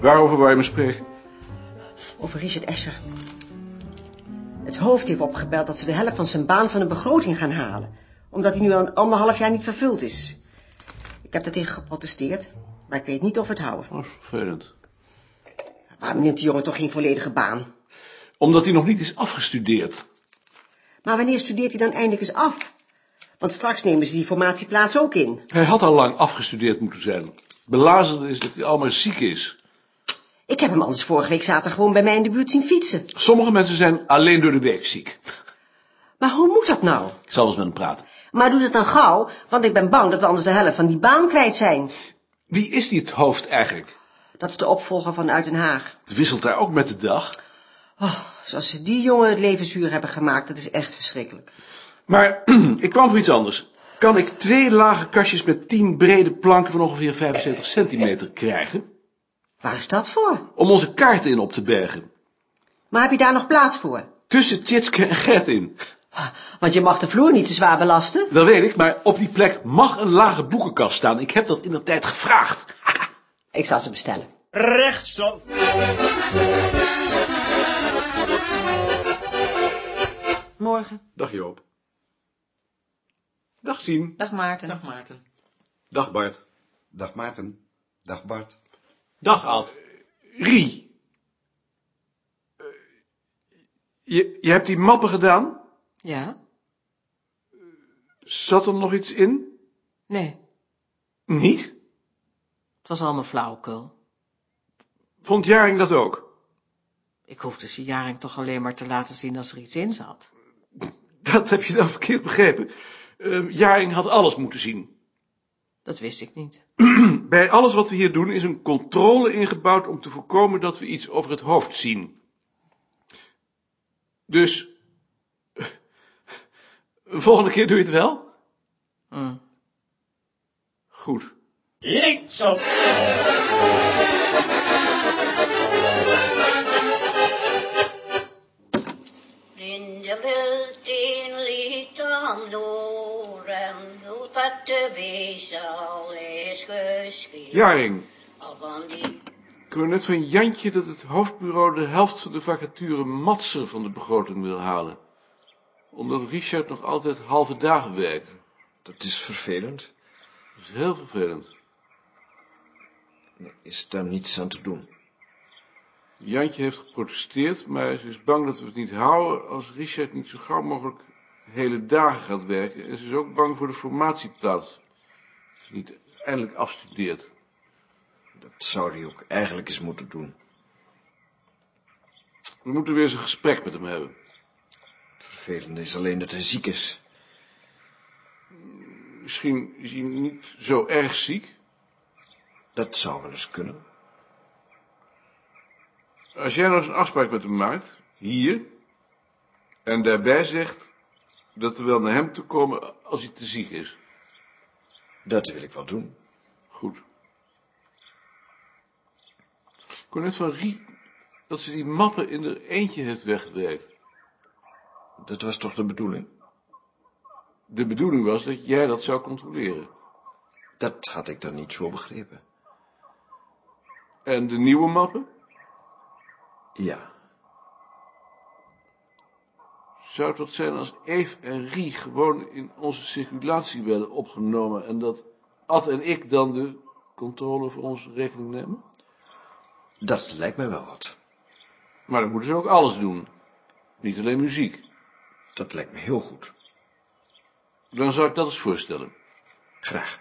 Waarover wou je me spreken? Over Richard Escher. Het hoofd heeft opgebeld dat ze de helft van zijn baan van de begroting gaan halen. Omdat hij nu al een anderhalf jaar niet vervuld is. Ik heb daartegen geprotesteerd, maar ik weet niet of we het houden. Oh, vervelend. Waarom neemt die jongen toch geen volledige baan? Omdat hij nog niet is afgestudeerd. Maar wanneer studeert hij dan eindelijk eens af? Want straks nemen ze die formatieplaats ook in. Hij had al lang afgestudeerd moeten zijn. Belazerd is dat hij allemaal ziek is. Ik heb hem anders vorige week zaterdag gewoon bij mij in de buurt zien fietsen. Sommige mensen zijn alleen door de week ziek. Maar hoe moet dat nou? Ik zal eens met hem praten. Maar doe dat dan gauw, want ik ben bang dat we anders de helft van die baan kwijt zijn. Wie is die het hoofd eigenlijk? Dat is de opvolger van Uit Den Haag. Het wisselt daar ook met de dag. Oh, zoals ze die jongen het leven zuur hebben gemaakt, dat is echt verschrikkelijk. Maar ik kwam voor iets anders. Kan ik twee lage kastjes met tien brede planken van ongeveer 75 centimeter krijgen? Waar is dat voor? Om onze kaarten in op te bergen. Maar heb je daar nog plaats voor? Tussen Tjitske en Gert in. Want je mag de vloer niet te zwaar belasten. Dat weet ik, maar op die plek mag een lage boekenkast staan. Ik heb dat in de tijd gevraagd. Ik zal ze bestellen. Rechtsom. Morgen. Dag Joop. Dag Sien. Dag Maarten. Dag Maarten. Dag Bart. Dag Maarten. Dag Bart. Dag Alt. Rie. Eh, Je, je hebt die mappen gedaan? Ja? Zat er nog iets in? Nee, Niet? het was allemaal flauwekul. Vond Jaring dat ook? Ik hoefde ze Jaring toch alleen maar te laten zien als er iets in zat. Dat heb je dan verkeerd begrepen. Eh, Jaring had alles moeten zien. Dat wist ik niet. Bij alles wat we hier doen is een controle ingebouwd om te voorkomen dat we iets over het hoofd zien. Dus. eh, Volgende keer doe je het wel? Hm. Goed. Linksom. In de bulten liet om loren, hoe wat de wees al is geschied. Jaring, Al van die ik hoor net van Jantje dat het hoofdbureau de helft van de vacature Matser van de begroting wil halen. Omdat Richard nog altijd halve dagen werkt. Dat is vervelend. Dat is heel vervelend. Is daar niets aan te doen? Jantje heeft geprotesteerd, maar ze is bang dat we het niet houden als Richard niet zo gauw mogelijk hele dagen gaat werken. En ze is ook bang voor de formatieplaats. Als ze niet eindelijk afstudeert. Dat zou hij ook eigenlijk eens moeten doen. We moeten weer eens een gesprek met hem hebben. Het vervelende is alleen dat hij ziek is. Misschien is hij niet zo erg ziek. Dat zou wel eens kunnen. Als jij nou eens een afspraak met hem maakt, hier, en daarbij zegt dat we wel naar hem toe komen als hij te ziek is. Dat wil ik wel doen. Goed. Ik hoor net van Rie dat ze die mappen in haar eentje heeft weggewerkt. Dat was toch de bedoeling? De bedoeling was dat jij dat zou controleren. Dat had ik dan niet zo begrepen. En de nieuwe mappen? Ja, Zou het wat zijn als Eve en Rie gewoon in onze circulatie werden opgenomen en dat Ad en ik dan de controle voor onze rekening nemen? dat lijkt mij wel wat. Maar dan moeten ze ook alles doen. Niet alleen muziek. Dat lijkt me heel goed. Dan zou ik dat eens voorstellen. Graag.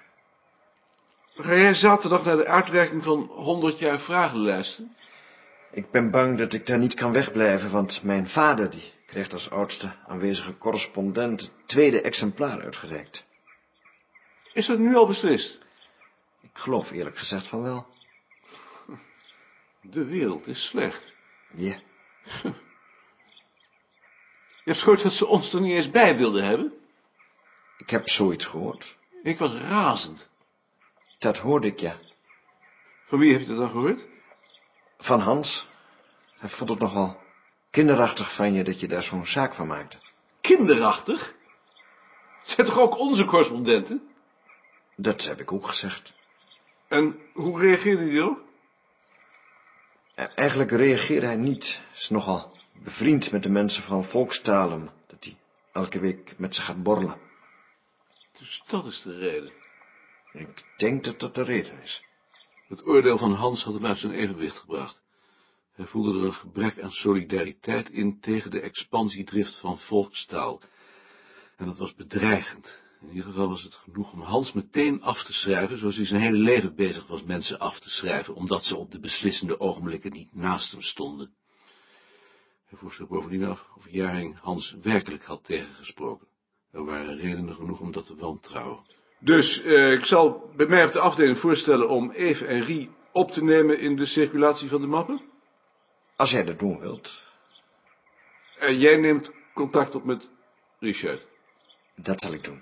Ga jij zaterdag naar de uitreiking van 100 jaar vragenlijsten? Ik ben bang dat ik daar niet kan wegblijven, want mijn vader die kreeg als oudste aanwezige correspondent het tweede exemplaar uitgereikt. Is dat nu al beslist? Ik geloof eerlijk gezegd van wel. De wereld is slecht. Ja. Je hebt gehoord dat ze ons er niet eens bij wilden hebben? Ik heb zoiets gehoord. Ik was razend. Dat hoorde ik, ja. Van wie heb je dat dan gehoord? Van Hans. Hij vond het nogal kinderachtig van je dat je daar zo'n zaak van maakte. Kinderachtig? Zet toch ook onze correspondenten? Dat heb ik ook gezegd. En hoe reageerde die erop? E- Eigenlijk reageerde hij niet. Is nogal bevriend met de mensen van volkstalen. Dat hij elke week met ze gaat borrelen. Dus dat is de reden. Ik denk dat dat de reden is. Het oordeel van Hans had hem uit zijn evenwicht gebracht. Hij voelde er een gebrek aan solidariteit in tegen de expansiedrift van volkstaal. En dat was bedreigend. In ieder geval was het genoeg om Hans meteen af te schrijven, zoals hij zijn hele leven bezig was mensen af te schrijven, omdat ze op de beslissende ogenblikken niet naast hem stonden. Hij vroeg zich bovendien af of Jaring Hans werkelijk had tegengesproken. Er waren redenen genoeg om dat te wantrouwen. Dus eh, ik zal bij mij op de afdeling voorstellen om Eve en Rie op te nemen in de circulatie van de mappen. Als jij dat doen wilt, En jij neemt contact op met Richard. dat zal ik doen.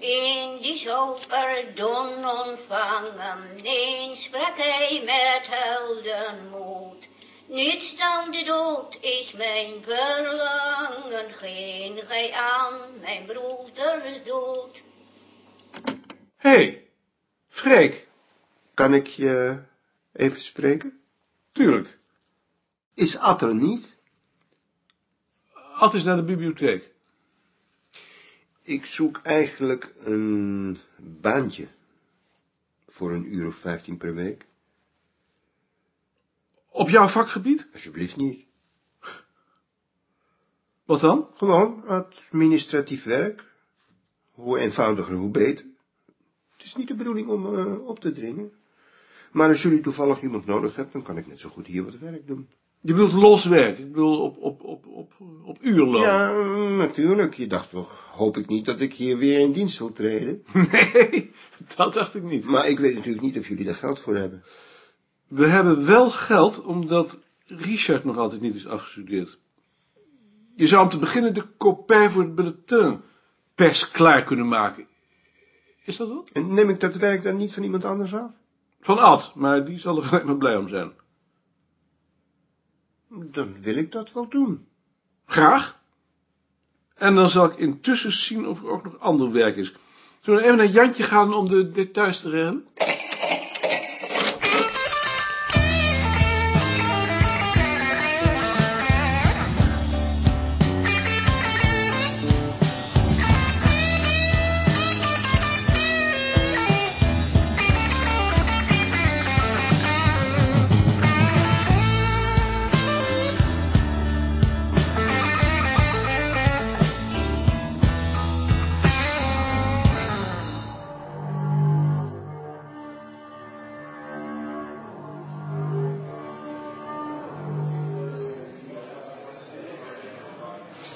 In die zoperdon ontvangen, eens sprak hij met heldenmoed. Niets dan de dood is mijn verlangen, geen gij aan mijn broeders dood. Hé, hey, Freek, Kan ik je even spreken? tuurlijk. Is Ad er niet? Ad is naar de bibliotheek. Ik zoek eigenlijk een baantje. Voor een uur of vijftien per week. Op jouw vakgebied? Alsjeblieft niet. Wat dan? Gewoon administratief werk. Hoe eenvoudiger, hoe beter. Het is niet de bedoeling om eh, op te dringen. Maar als jullie toevallig iemand nodig hebben, dan kan ik net zo goed hier wat werk doen. Je bedoelt loswerk, ik bedoel op, op, op, op, op uurloon. Ja, mm. natuurlijk. Je dacht toch, hoop ik niet dat ik hier weer in dienst zal treden. Nee, dat dacht ik niet. Maar ik weet natuurlijk niet of jullie daar geld voor hebben. We hebben wel geld omdat Richard nog altijd niet is afgestudeerd. Je zou om te beginnen de kopij voor het bulletin pers klaar kunnen maken. Is dat wat? En neem ik dat werk dan niet van iemand anders af? Van Ad, maar die zal er gelijk maar blij om zijn. Dan wil ik dat wel doen. Graag. En dan zal ik intussen zien of er ook nog ander werk is. Zullen we even naar Jantje gaan om de details te regelen?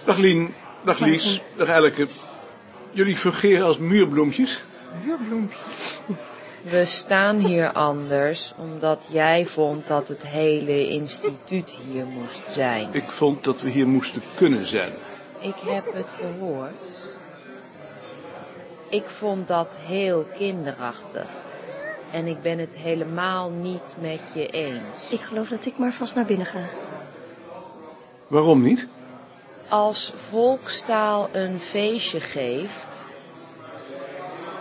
Dag Lien, dag Lies, dag Elke. Jullie fungeren als muurbloempjes. We staan hier anders omdat jij vond dat het hele instituut hier moest zijn. Ik vond dat we hier moesten kunnen zijn. Ik heb het gehoord. Ik vond dat heel kinderachtig. En ik ben het helemaal niet met je eens. Ik geloof dat ik maar vast naar binnen ga. Waarom niet? Als volkstaal een feestje geeft,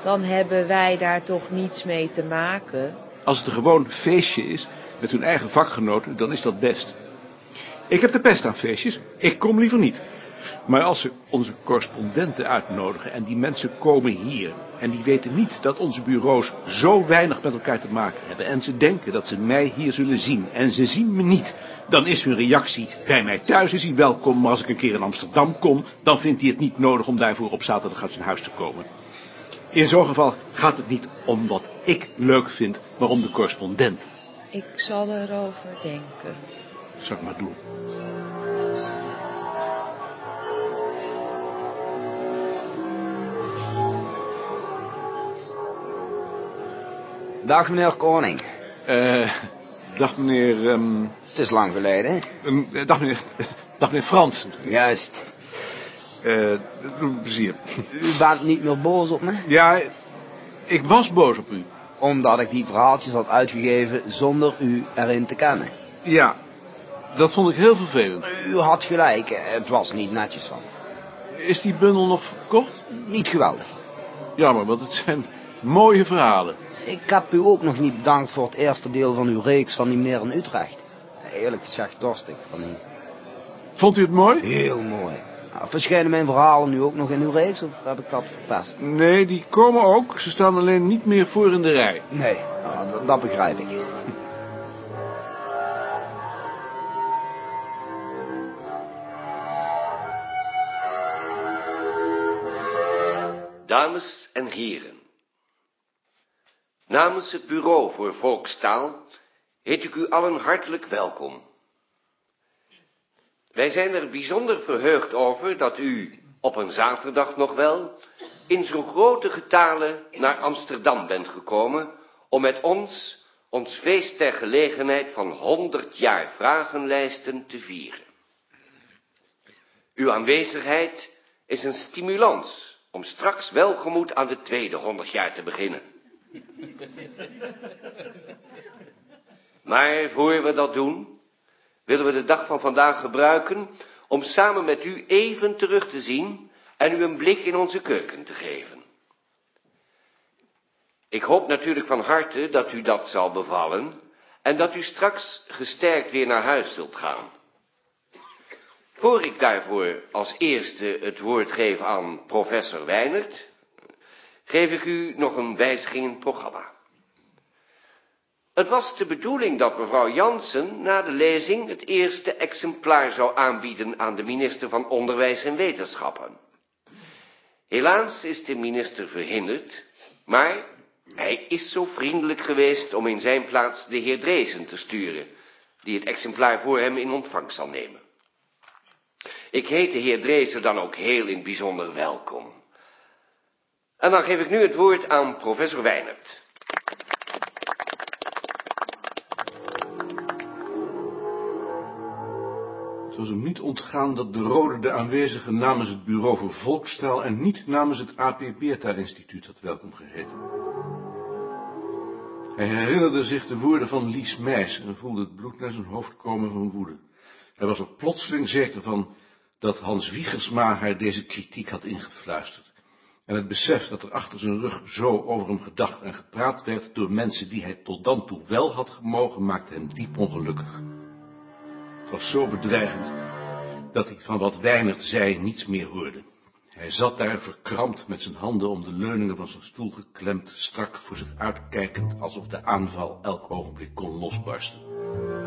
dan hebben wij daar toch niets mee te maken. Als het een gewoon feestje is, met hun eigen vakgenoten, dan is dat best. Ik heb de pest aan feestjes, ik kom liever niet. Maar als ze onze correspondenten uitnodigen en die mensen komen hier... en die weten niet dat onze bureaus zo weinig met elkaar te maken hebben... en ze denken dat ze mij hier zullen zien en ze zien me niet... dan is hun reactie, bij mij thuis is hij welkom... maar als ik een keer in Amsterdam kom... dan vindt hij het niet nodig om daarvoor op zaterdag uit zijn huis te komen. In zo'n geval gaat het niet om wat ik leuk vind, maar om de correspondent. Ik zal erover denken. Zal ik maar doen. Dag meneer Koning. Eh, dag meneer... ehm, Het is lang geleden. ehm, eh, dag meneer... Dag meneer Frans. Juist. Eh, dat doet me plezier. U bent niet meer boos op me? Ja, ik was boos op u. Omdat ik die verhaaltjes had uitgegeven zonder u erin te kennen. Ja, dat vond ik heel vervelend. U had gelijk, het was niet netjes van. me. Is die bundel nog verkocht? Niet geweldig. Jammer, want het zijn mooie verhalen. Ik heb u ook nog niet bedankt voor het eerste deel van uw reeks van die meneer in Utrecht. Eerlijk gezegd dorst ik van niet. Vond u het mooi? Heel mooi. Nou, verschijnen mijn verhalen nu ook nog in uw reeks of heb ik dat verpest? Nee, die komen ook. Ze staan alleen niet meer voor in de rij. Nee, nou, dat, dat begrijp ik. Dames en heren, namens het Bureau voor Volkstaal heet ik u allen hartelijk welkom. Wij zijn er bijzonder verheugd over dat u, op een zaterdag nog wel, in zo'n grote getale naar Amsterdam bent gekomen om met ons ons feest ter gelegenheid van 100 jaar vragenlijsten te vieren. Uw aanwezigheid is een stimulans om straks welgemoed aan de tweede 100 jaar te beginnen. Maar voor we dat doen, willen we de dag van vandaag gebruiken om samen met u even terug te zien en u een blik in onze keuken te geven. Ik hoop natuurlijk van harte dat u dat zal bevallen en dat u straks gesterkt weer naar huis zult gaan. Voor ik daarvoor als eerste het woord geef aan professor Weinert, geef ik u nog een wijziging in het programma. Het was de bedoeling dat mevrouw Jansen na de lezing het eerste exemplaar zou aanbieden aan de minister van Onderwijs en Wetenschappen. Helaas is de minister verhinderd, maar hij is zo vriendelijk geweest om in zijn plaats de heer Dreesen te sturen, die het exemplaar voor hem in ontvangst zal nemen. Ik heet de heer Dreesen dan ook heel in het bijzonder welkom. En dan geef ik nu het woord aan professor Weinert. Het was hem niet ontgaan dat de Rode de aanwezigen namens het Bureau voor Volkstaal en niet namens het AP Beerta Instituut had welkom geheten. Hij herinnerde zich de woorden van Lies Meijs en voelde het bloed naar zijn hoofd komen van woede. Hij was er plotseling zeker van dat Hans Wiegersma haar deze kritiek had ingefluisterd. En het besef dat er achter zijn rug zo over hem gedacht en gepraat werd door mensen die hij tot dan toe wel had gemogen, maakte hem diep ongelukkig. Het was zo bedreigend dat hij van wat Weinert zei niets meer hoorde. Hij zat daar verkrampt met zijn handen om de leuningen van zijn stoel geklemd, strak voor zich uitkijkend, alsof de aanval elk ogenblik kon losbarsten.